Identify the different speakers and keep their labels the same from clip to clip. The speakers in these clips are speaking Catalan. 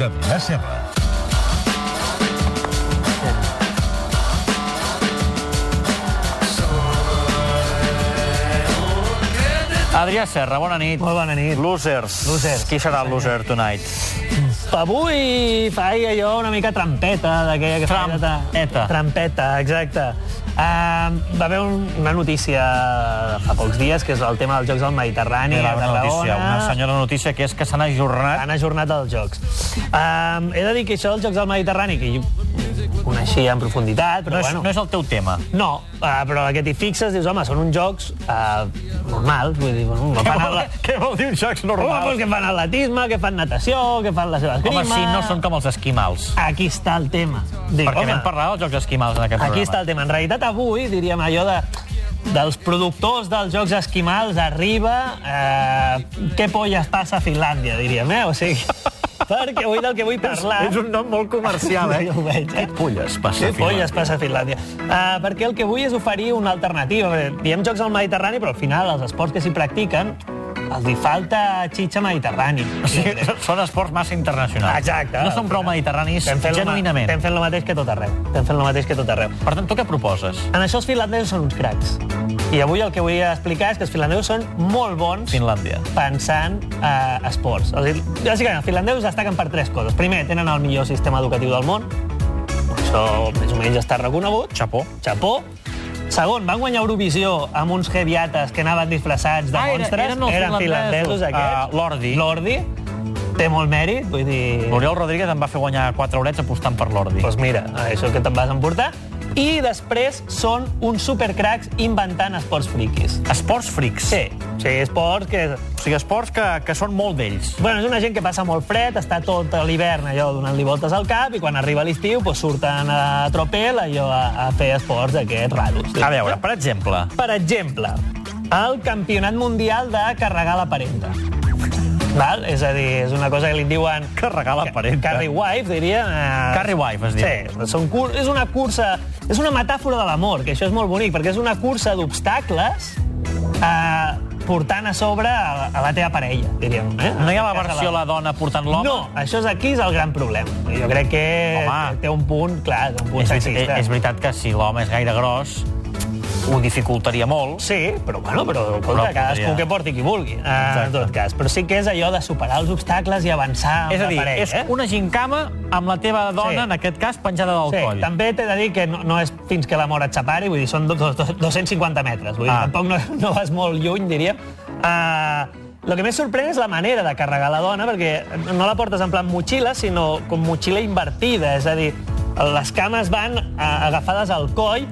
Speaker 1: de Vilaserra.
Speaker 2: Adrià Serra, bona nit.
Speaker 3: Molt bona nit.
Speaker 2: Losers.
Speaker 3: Losers.
Speaker 2: Qui serà el loser tonight?
Speaker 3: Avui faig allò una mica trampeta, d'aquella que feia de ta-
Speaker 2: Trampeta.
Speaker 3: Trampeta, exacte. Uh, va haver un, una notícia fa pocs dies, que és el tema dels Jocs del Mediterrani,
Speaker 2: Era
Speaker 3: a
Speaker 2: una
Speaker 3: Tarragona.
Speaker 2: notícia, una senyora notícia que és que s'han ajornat
Speaker 3: Han ajornat els Jocs. Uh, he de dir que això dels Jocs del Mediterrani, que jo coneixia en profunditat, però
Speaker 2: no és,
Speaker 3: bueno...
Speaker 2: no és el teu tema.
Speaker 3: No, eh, però que t'hi fixes, dius, home, són uns jocs eh, normals, vull dir, bueno, no
Speaker 2: Què
Speaker 3: fan...
Speaker 2: vol,
Speaker 3: Ala...
Speaker 2: què vol dir un jocs
Speaker 3: Home, doncs
Speaker 2: normal?
Speaker 3: que fan atletisme, que fan natació, que fan les seves
Speaker 2: Home,
Speaker 3: grimes...
Speaker 2: si no són com els esquimals.
Speaker 3: Aquí està el tema.
Speaker 2: Perquè
Speaker 3: Dic, Ah, home,
Speaker 2: vam parlar dels jocs esquimals en aquest
Speaker 3: Aquí està
Speaker 2: programa.
Speaker 3: el tema. En realitat, avui, diríem allò de dels productors dels jocs esquimals arriba eh, què polles passa a Finlàndia, diríem, eh? O sigui, perquè avui del que vull parlar...
Speaker 2: És un nom molt comercial, eh?
Speaker 3: Ja ho veig, eh?
Speaker 2: Pulles, passa.
Speaker 3: Què polles passa a Finlàndia? Uh, perquè el que vull és oferir una alternativa. Perquè Diem jocs al Mediterrani, però al final els esports que s'hi practiquen els hi falta xitxa mediterrani.
Speaker 2: O sigui, són esports massa internacionals.
Speaker 3: Exacte.
Speaker 2: No són prou mediterranis,
Speaker 3: Estem fent lo ma-
Speaker 2: genuïnament.
Speaker 3: Estem fent el mateix que tot arreu. Estem fent el mateix que tot arreu.
Speaker 2: Per tant, tu què proposes?
Speaker 3: En això els finlandesos són uns cracs. I avui el que vull explicar és que els finlandesos són molt bons
Speaker 2: Finlàndia.
Speaker 3: pensant a esports. O sigui, bàsicament, els finlandesos destaquen per tres coses. Primer, tenen el millor sistema educatiu del món. Això més o menys està reconegut.
Speaker 2: Chapó.
Speaker 3: Japó. Segon, van guanyar Eurovisió amb uns heaviates que anaven disfressats de
Speaker 2: Ah, era-
Speaker 3: monstres.
Speaker 2: eren els finlandesos,
Speaker 3: finlandesos, aquests.
Speaker 2: ah, l'Ordi.
Speaker 3: L'Ordi. Té molt mèrit, vull dir...
Speaker 2: L'Oriol Rodríguez em va fer guanyar 4 horets apostant per l'Ordi.
Speaker 3: Doncs mira, això que te'n vas emportar. I després són uns supercracs inventant esports friquis.
Speaker 2: Esports frics.
Speaker 3: Sí, sí, esports que...
Speaker 2: O sigui, esports que, que són molt d'ells.
Speaker 3: Bueno, és una gent que passa molt fred, està tot l'hivern allò donant-li voltes al cap i quan arriba l'estiu pues, surten a tropel allò a, a fer esports aquests raros.
Speaker 2: A veure, per exemple,
Speaker 3: Per exemple, el campionat mundial de carregar la parenta. Val? És a dir, és una cosa que li en diuen...
Speaker 2: Carregar la parenta.
Speaker 3: Carry wife, diria. Eh...
Speaker 2: Carry wife, es diu.
Speaker 3: Sí, són cur... és una cursa... És una metàfora de l'amor, que això és molt bonic, perquè és una cursa d'obstacles eh, portant a sobre a, a la teva parella, diríem. Eh?
Speaker 2: no hi ha la
Speaker 3: En cas de
Speaker 2: versió la dona portant l'home?
Speaker 3: No, això és aquí és el gran problema. Jo crec que
Speaker 2: Home.
Speaker 3: té un punt, clar, té un punt
Speaker 2: És, veri-
Speaker 3: sexista.
Speaker 2: és veritat que si l'home és gaire gros, ho dificultaria molt.
Speaker 3: Sí, però bueno, però
Speaker 2: Però
Speaker 3: escolta, cadascú
Speaker 2: podria.
Speaker 3: que porti qui vulgui, eh, en
Speaker 2: Exacte.
Speaker 3: tot cas. Però sí que és allò de superar els obstacles i avançar amb
Speaker 2: És a
Speaker 3: la
Speaker 2: dir,
Speaker 3: parella,
Speaker 2: és
Speaker 3: eh?
Speaker 2: una gincama amb la teva dona,
Speaker 3: Sí.
Speaker 2: en aquest cas, penjada del
Speaker 3: Sí,
Speaker 2: coll.
Speaker 3: també t'he de dir que no, no és fins que la mort et separi, vull dir, són do- do- do- 250 metres, vull dir,
Speaker 2: Ah.
Speaker 3: ah. tampoc no, no vas molt lluny, diríem. Uh, el que més sorprèn és la manera de carregar la dona, perquè no la portes en plan motxilla, sinó com motxilla invertida, és a dir, les cames van eh, agafades al coll,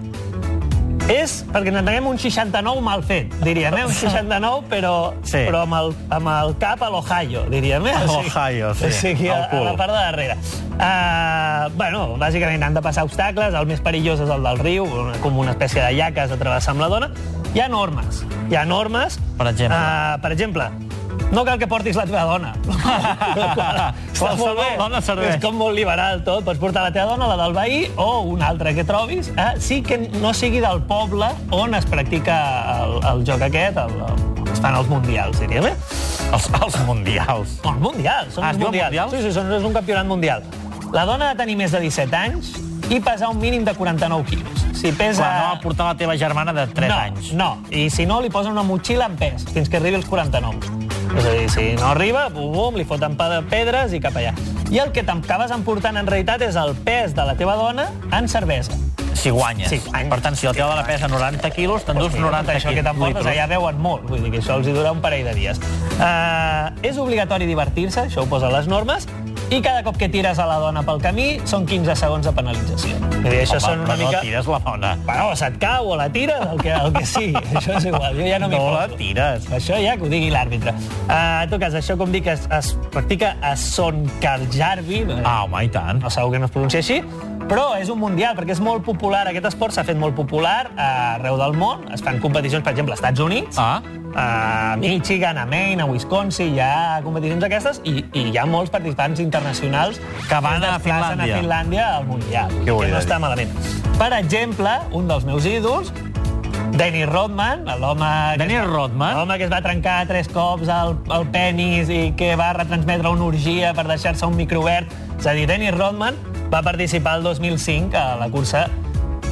Speaker 3: és, perquè ens entenguem, un 69 mal fet, diríem, eh? Un 69, però,
Speaker 2: Sí.
Speaker 3: però amb, el, amb el cap a l'Ohio, diríem, eh?
Speaker 2: A l'Ohio, sí,
Speaker 3: O sigui,
Speaker 2: al
Speaker 3: a, a la
Speaker 2: cul.
Speaker 3: part de darrere. Uh, bueno, bàsicament han de passar obstacles, el més perillós és el del riu, una, com una espècie de llac que has de travessar amb la dona. Hi ha normes, hi ha normes...
Speaker 2: Per exemple?
Speaker 3: Uh, per exemple, no cal que portis la teva dona. Està molt
Speaker 2: Qualsevol
Speaker 3: bé.
Speaker 2: dona serveix.
Speaker 3: És com molt liberal tot. Pots portar la teva dona, la del veí o una altra que trobis. Eh? Sí que no sigui del poble on es practica el, el joc aquest, el, el, es fan els mundials, diríem, eh?
Speaker 2: Els, els mundials.
Speaker 3: Són mundials, són
Speaker 2: Ah, es
Speaker 3: uns
Speaker 2: diuen
Speaker 3: mundials.
Speaker 2: mundials?
Speaker 3: Sí, sí, són, és un campionat mundial. La dona ha de tenir més de 17 anys i pesar un mínim de 49 quilos. Si pesa...
Speaker 2: Quan no va
Speaker 3: tota
Speaker 2: portar la teva germana de 3
Speaker 3: no,
Speaker 2: anys.
Speaker 3: No, i si no, li posen una motxilla en pes, fins que arribi als 49. És a dir, si no arriba, bum, bum, li foten pe- pedres i cap allà. I el que t'acabes emportant en realitat és el pes de la teva dona en cervesa.
Speaker 2: Si guanyes.
Speaker 3: Si guanyes.
Speaker 2: Per tant, si la teva dona pesa 90 quilos, t'endús
Speaker 3: Mira, tot
Speaker 2: 90
Speaker 3: això que
Speaker 2: quilos.
Speaker 3: t'emportes, allà veuen molt, vull dir que això els hi durarà un parell de dies. Uh, és obligatori divertir-se, això ho posen les normes, i cada cop que tires a la dona pel camí són 15 segons de penalització. Vull dir, això
Speaker 2: Home,
Speaker 3: són una
Speaker 2: però
Speaker 3: mica...
Speaker 2: no tires la dona.
Speaker 3: Bueno, se't cau o la tires, el que, el que sigui. això és igual, jo ja no m'hi
Speaker 2: No la
Speaker 3: poso.
Speaker 2: tires.
Speaker 3: Això ja que ho digui l'àrbitre. Uh, en tot cas, això, com dic, es, es practica a Sonkarjarvi.
Speaker 2: Ah, home, i tant.
Speaker 3: no segur que no es pronuncia així, però és un mundial, perquè és molt popular, aquest esport s'ha fet molt popular eh, arreu del món, es fan competicions, per exemple, als Estats Units,
Speaker 2: Ah.
Speaker 3: a Michigan, a Maine, a Wisconsin, hi ha competicions aquestes, i, i hi ha molts participants internacionals
Speaker 2: Que van
Speaker 3: es
Speaker 2: a
Speaker 3: desplacen
Speaker 2: Finlàndia.
Speaker 3: a Finlàndia al mundial,
Speaker 2: volia
Speaker 3: que no
Speaker 2: dir?
Speaker 3: està malament. Per exemple, un dels meus ídols, Dennis Rodman, l'home... que-
Speaker 2: Dennis Rodman?
Speaker 3: L'home que es va trencar tres cops el, el penis i que va retransmetre una orgia per deixar-se un microobert. És a dir, Dennis Rodman va participar el 2005 a la cursa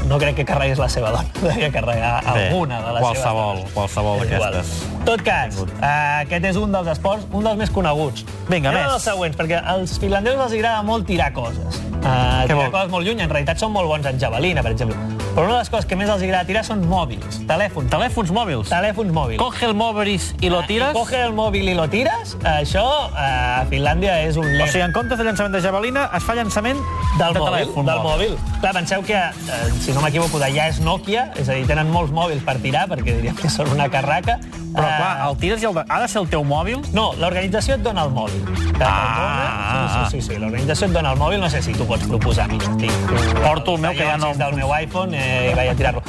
Speaker 3: no crec que carregués la seva dona, devia carregar
Speaker 2: Bé,
Speaker 3: alguna de les
Speaker 2: qualsevol,
Speaker 3: seves dones.
Speaker 2: qualsevol
Speaker 3: És igual.
Speaker 2: d'aquestes.
Speaker 3: tot cas, eh, aquest és un dels esports, un dels més coneguts.
Speaker 2: Vinga,
Speaker 3: Anem
Speaker 2: més.
Speaker 3: als següents, perquè als finlandesos els agrada molt tirar coses. Uh, tirar
Speaker 2: vol?
Speaker 3: coses molt lluny, en realitat són molt bons en javelina, per exemple. Però una de les coses que més els agrada tirar són mòbils, telèfons.
Speaker 2: Telèfons mòbils.
Speaker 3: Telèfons mòbils.
Speaker 2: Coge el mòbils i lo
Speaker 3: Ah, I
Speaker 2: tires.
Speaker 3: coge el mòbil i lo tires, això eh, a Finlàndia és un lema.
Speaker 2: O sigui, en comptes de llançament de javelina, es fa llançament
Speaker 3: del
Speaker 2: de
Speaker 3: mòbil,
Speaker 2: telèfon.
Speaker 3: del mòbil. Clar, penseu que, eh, si no m'equivoco, d'allà és Nokia, és a dir, tenen molts mòbils per tirar, perquè diríem que són una carraca.
Speaker 2: Però,
Speaker 3: Eh,
Speaker 2: clar, el tires i el... de- Ha de ser el teu mòbil?
Speaker 3: No, l'organització et dona el mòbil. Te'l
Speaker 2: Ah.
Speaker 3: dona, Sí, sí, sí, sí. l'organització et dona el mòbil, no sé si tu pots proposar, mira, estic...
Speaker 2: Porto el meu, que ja no-
Speaker 3: rellotges del meu iPhone eh, i vaig a tirar-lo.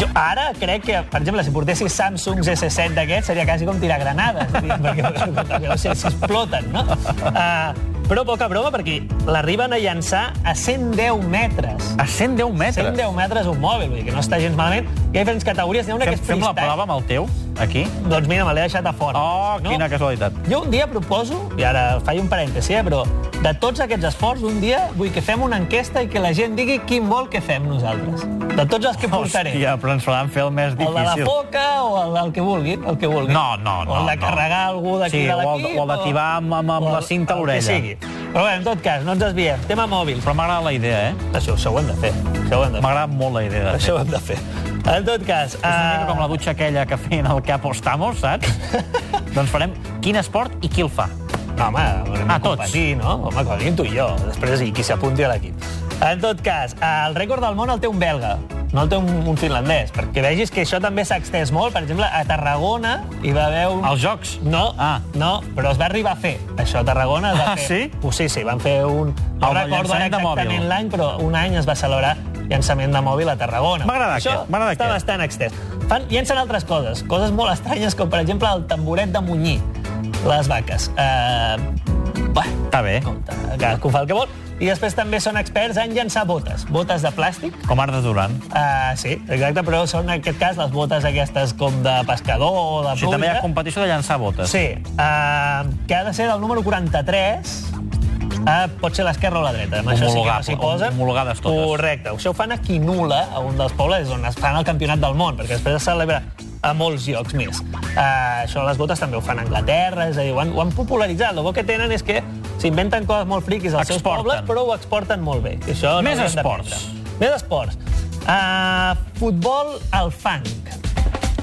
Speaker 3: Jo ara crec que, per exemple, si portessis Samsung S7 d'aquests, seria quasi com tirar granades, és a dir, perquè no sé si exploten, no? Uh, però poca broma, perquè l'arriben a llançar a 110 metres.
Speaker 2: A 110 metres.
Speaker 3: 110 metres un mòbil, vull dir que no està gens malament. Hi ha diferents categories, n'hi ha una
Speaker 2: Fem,
Speaker 3: que és
Speaker 2: fem la
Speaker 3: freestyle.
Speaker 2: prova amb el teu, aquí.
Speaker 3: Doncs mira, me l'he deixat a fora.
Speaker 2: Oh, quina casualitat.
Speaker 3: Jo un dia proposo, i ara faig un parèntesi, eh, però de tots aquests esports, un dia vull que fem una enquesta i que la gent digui quin vol que fem nosaltres. De tots els que portaré.
Speaker 2: Hòstia, però ens l'han fet el més
Speaker 3: el de la
Speaker 2: difícil.
Speaker 3: foca o el, el que vulguin, el que vulguin.
Speaker 2: No, no, no,
Speaker 3: O el de
Speaker 2: no.
Speaker 3: carregar algú d'aquí
Speaker 2: Sí,
Speaker 3: de
Speaker 2: o el-
Speaker 3: l'equip.
Speaker 2: o el de tibar amb- amb- amb
Speaker 3: o el-
Speaker 2: la cinta a
Speaker 3: el que
Speaker 2: l'orella.
Speaker 3: sigui. Però bé, en tot cas, no ens desviem. Tema mòbil.
Speaker 2: Però m'agrada la idea, eh?
Speaker 3: Això, això ho hem de fer. Això ho hem de fer.
Speaker 2: M'agrada molt la idea. De fer.
Speaker 3: Això ho hem de fer. En tot cas... eh,
Speaker 2: És una mica com la dutxa aquella que feien el que apostamos, saps? doncs farem quin esport i qui el fa.
Speaker 3: No, home, haurem
Speaker 2: Ah,
Speaker 3: de competir, no? Home, com a mínim tu i jo. Després, i qui s'apunti a l'equip. En tot cas, el rècord del món el té un belga, no el té un, un finlandès, perquè vegis que això també s'ha extès molt. Per exemple, a Tarragona hi va haver un...
Speaker 2: Els jocs.
Speaker 3: No,
Speaker 2: Ah.
Speaker 3: ah. no, però es va arribar a fer. Això a Tarragona es va
Speaker 2: Ah,
Speaker 3: fer...
Speaker 2: sí?
Speaker 3: Oh, sí, sí, van fer un... No
Speaker 2: El del
Speaker 3: recordo ara
Speaker 2: llançament de mòbil.
Speaker 3: exactament l'any, però un any es va celebrar llançament de mòbil a Tarragona.
Speaker 2: M'ha agradat
Speaker 3: Això
Speaker 2: aquest, m'ha agradat
Speaker 3: està
Speaker 2: aquest.
Speaker 3: bastant extès. Fan, llencen altres coses, coses molt estranyes, com per exemple el tamboret de munyir, les vaques. Uh, bé,
Speaker 2: Està bé.
Speaker 3: compte, cadascú fa el que vol. I després també són experts en llançar botes, botes de plàstic,
Speaker 2: Com Arda Duran.
Speaker 3: Uh, sí, exacte, però són en aquest cas les botes aquestes com de pescador o de
Speaker 2: O sigui, també hi ha
Speaker 3: pluja.
Speaker 2: competició de llançar botes.
Speaker 3: Sí, uh, que ha de ser del número 43, uh, pot ser l'esquerra o la dreta. Amb això sí que no s'hi
Speaker 2: Homologable,
Speaker 3: posen.
Speaker 2: homologades totes.
Speaker 3: Correcte. Això ho fan a Quinula, a un dels pobles on es fan el campionat del món, perquè després es celebra a molts llocs més. Uh, això les botes també ho fan a Anglaterra, és a dir, ho han, ho han popularitzat. El bo que tenen és que s'inventen coses molt friquis als seus
Speaker 2: Exporten.
Speaker 3: pobles, però ho exporten molt bé. I això
Speaker 2: Més
Speaker 3: no ho hem
Speaker 2: esports.
Speaker 3: d'aprendre. Més esports. Uh, futbol al fang.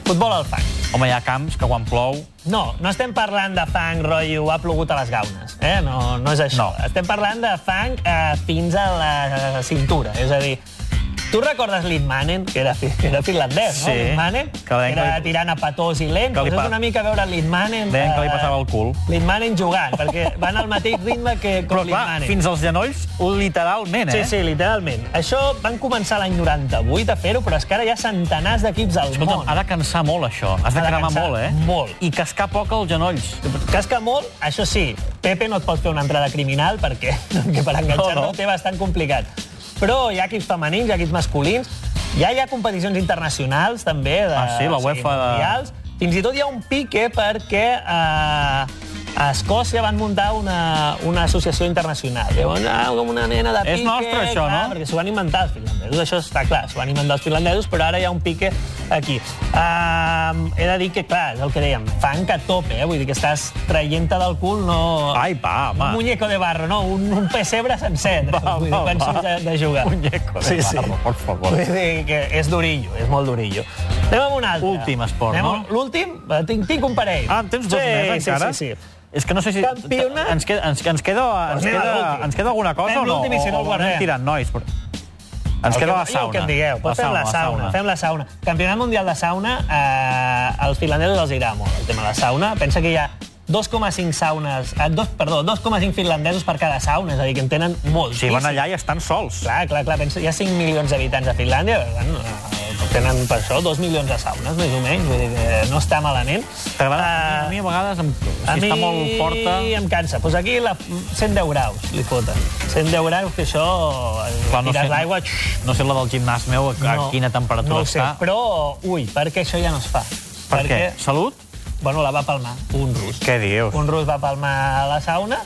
Speaker 3: Futbol al fang.
Speaker 2: Home, hi ha camps que quan plou...
Speaker 3: No, no estem parlant de fang, rotllo, ha plogut a les gaunes. Eh? No, no és això.
Speaker 2: No.
Speaker 3: Estem parlant de fang eh, fins a la cintura. És a dir, tu recordes Lidmanen, que era, fi- que era finlandès,
Speaker 2: Sí.
Speaker 3: no? Lidmanen,
Speaker 2: Que deien que
Speaker 3: era
Speaker 2: li-
Speaker 3: tirant a patós i lent.
Speaker 2: que li
Speaker 3: Doncs
Speaker 2: pa-
Speaker 3: és una mica veure Lidmanen...
Speaker 2: Deien que li
Speaker 3: eh,
Speaker 2: passava el cul.
Speaker 3: Lidmanen jugant, perquè van al mateix ritme que com
Speaker 2: Però, clar,
Speaker 3: Lidmanen.
Speaker 2: fins als genolls, literalment, eh?
Speaker 3: Sí, sí, literalment. Això van començar l'any 98 a fer-ho, però és que ara hi ha centenars d'equips al
Speaker 2: Escolta'm,
Speaker 3: món.
Speaker 2: ha de cansar molt, això. Has de,
Speaker 3: Ha de
Speaker 2: cremar
Speaker 3: cansar
Speaker 2: molt, eh?
Speaker 3: molt.
Speaker 2: I cascar poc als genolls.
Speaker 3: Casca molt, això sí, Pepe no et pot fer una entrada criminal perquè que per enganxar-te
Speaker 2: No,
Speaker 3: no,
Speaker 2: no.
Speaker 3: no. té bastant complicat. Però hi ha equips femenins, hi ha equips masculins, ja hi ha competicions internacionals també. De,
Speaker 2: Ah, sí, la
Speaker 3: o sigui,
Speaker 2: UEFA de-
Speaker 3: mundials. Fins i tot hi ha un pique perquè eh, a Escòcia van muntar una, una associació internacional. Llavors, ah, com una nena de
Speaker 2: És
Speaker 3: pique...
Speaker 2: nostre, això,
Speaker 3: clar,
Speaker 2: no?
Speaker 3: Perquè s'ho van inventar els finlandesos, això està clar, s'ho van inventar els finlandesos, però ara hi ha un pique aquí. Uh, he de dir que, clar, és el que dèiem, fan que tope, eh? vull dir que estàs traient-te del cul, no...
Speaker 2: Ai, va, home.
Speaker 3: Un muñeco de barro, no, un, un pessebre sencer,
Speaker 2: Va,
Speaker 3: vull dir,
Speaker 2: va,
Speaker 3: quan
Speaker 2: va.
Speaker 3: surts de, de jugar.
Speaker 2: Muñeco de barro, por favor.
Speaker 3: Vull dir que és durillo, és molt durillo. Anem amb un altre.
Speaker 2: Últim esport,
Speaker 3: Anem
Speaker 2: no?
Speaker 3: amb- L'últim? Eh, Tinc, tinc un parell.
Speaker 2: Ah, en tens dos
Speaker 3: sí,
Speaker 2: més,
Speaker 3: sí,
Speaker 2: encara?
Speaker 3: Sí, sí, sí.
Speaker 2: És que no sé si...
Speaker 3: Campionat?
Speaker 2: Ens queda, ens, ens queda, ens
Speaker 3: anem a
Speaker 2: queda,
Speaker 3: l'últim.
Speaker 2: ens queda alguna cosa
Speaker 3: Fem
Speaker 2: o no?
Speaker 3: l'últim i si
Speaker 2: O-
Speaker 3: no el
Speaker 2: o
Speaker 3: guardem.
Speaker 2: Anem tirant, nois. Però... Ens
Speaker 3: El
Speaker 2: queda
Speaker 3: que-
Speaker 2: la
Speaker 3: jo El
Speaker 2: sauna.
Speaker 3: que em digueu. Però fem la sauna, fem la sauna. Campionat Mundial de Sauna, eh, als finlandesos els agrada molt el tema de la sauna. Pensa que hi ha 2,5 saunes, eh, dos, perdó, 2,5 finlandesos per cada sauna, és a dir, que en tenen molts.
Speaker 2: Si van allà i estan sols.
Speaker 3: Clar, clar, clar, pensa, hi ha 5 milions d'habitants a Finlàndia, per tant, eh, tenen per això dos milions de saunes, més o menys, vull dir que no està malament.
Speaker 2: T'agrada?
Speaker 3: Ah,
Speaker 2: a mi a vegades, em, si
Speaker 3: a mi
Speaker 2: està molt forta...
Speaker 3: em cansa. Doncs pues aquí la, 110 graus li foten. 110 graus, que això...
Speaker 2: Clar,
Speaker 3: Clar,
Speaker 2: no
Speaker 3: no tires
Speaker 2: sé-
Speaker 3: l'aigua... xux,
Speaker 2: No sé la del gimnàs meu, a, a quina temperatura
Speaker 3: no ho sé,
Speaker 2: està.
Speaker 3: Però, ui, perquè això ja no es fa.
Speaker 2: Per què? Salut?
Speaker 3: Bueno, la va palmar un rus.
Speaker 2: Què dius?
Speaker 3: Un rus va palmar a la sauna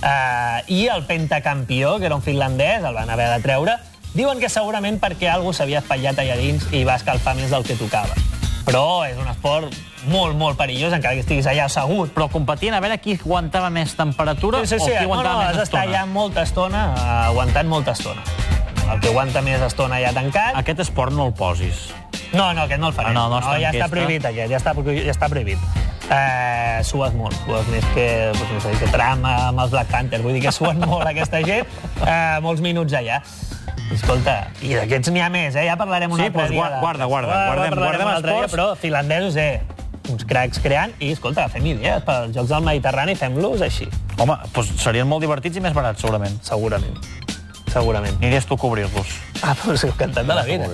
Speaker 3: eh, i el pentacampió, que era un finlandès, el van haver de treure. Diuen que segurament perquè algú s'havia espatllat allà dins i va escalfar més del que tocava. Però és un esport molt, molt perillós, encara que estiguis allà assegut.
Speaker 2: Però competien a veure qui aguantava més temperatura
Speaker 3: Sí, sí, sí.
Speaker 2: o qui
Speaker 3: No, no,
Speaker 2: aguantava
Speaker 3: has
Speaker 2: més
Speaker 3: d'estar
Speaker 2: estona.
Speaker 3: allà molta estona, eh, aguantant molta estona. El que aguanta més estona ja tancat...
Speaker 2: Aquest esport no el posis.
Speaker 3: No, no, aquest no el farem.
Speaker 2: Ah, no, no
Speaker 3: no,
Speaker 2: està
Speaker 3: ja
Speaker 2: enquesta.
Speaker 3: està prohibit, aquest, ja està, ja està prohibit. Eh, sues molt, sues més que, doncs, no sé, que trama amb els Black Panther, vull dir que suen molt aquesta gent, eh, molts minuts allà. Escolta, i d'aquests n'hi ha més, eh? ja parlarem un
Speaker 2: Sí,
Speaker 3: altre
Speaker 2: doncs
Speaker 3: dia.
Speaker 2: guarda,
Speaker 3: de-
Speaker 2: guarda, guarda,
Speaker 3: Ah,
Speaker 2: guardem-
Speaker 3: parlarem
Speaker 2: guardem
Speaker 3: un altre
Speaker 2: esports.
Speaker 3: Dia, però finlandesos, eh, uns cracs creant, i escolta, fem idees pels Jocs del Mediterrani, fem-los així,
Speaker 2: Home, doncs serien molt divertits i més barats, segurament.
Speaker 3: segurament. Segurament.
Speaker 2: Aniries tu a cobrir-los.
Speaker 3: Ah, però és encantat de la vida.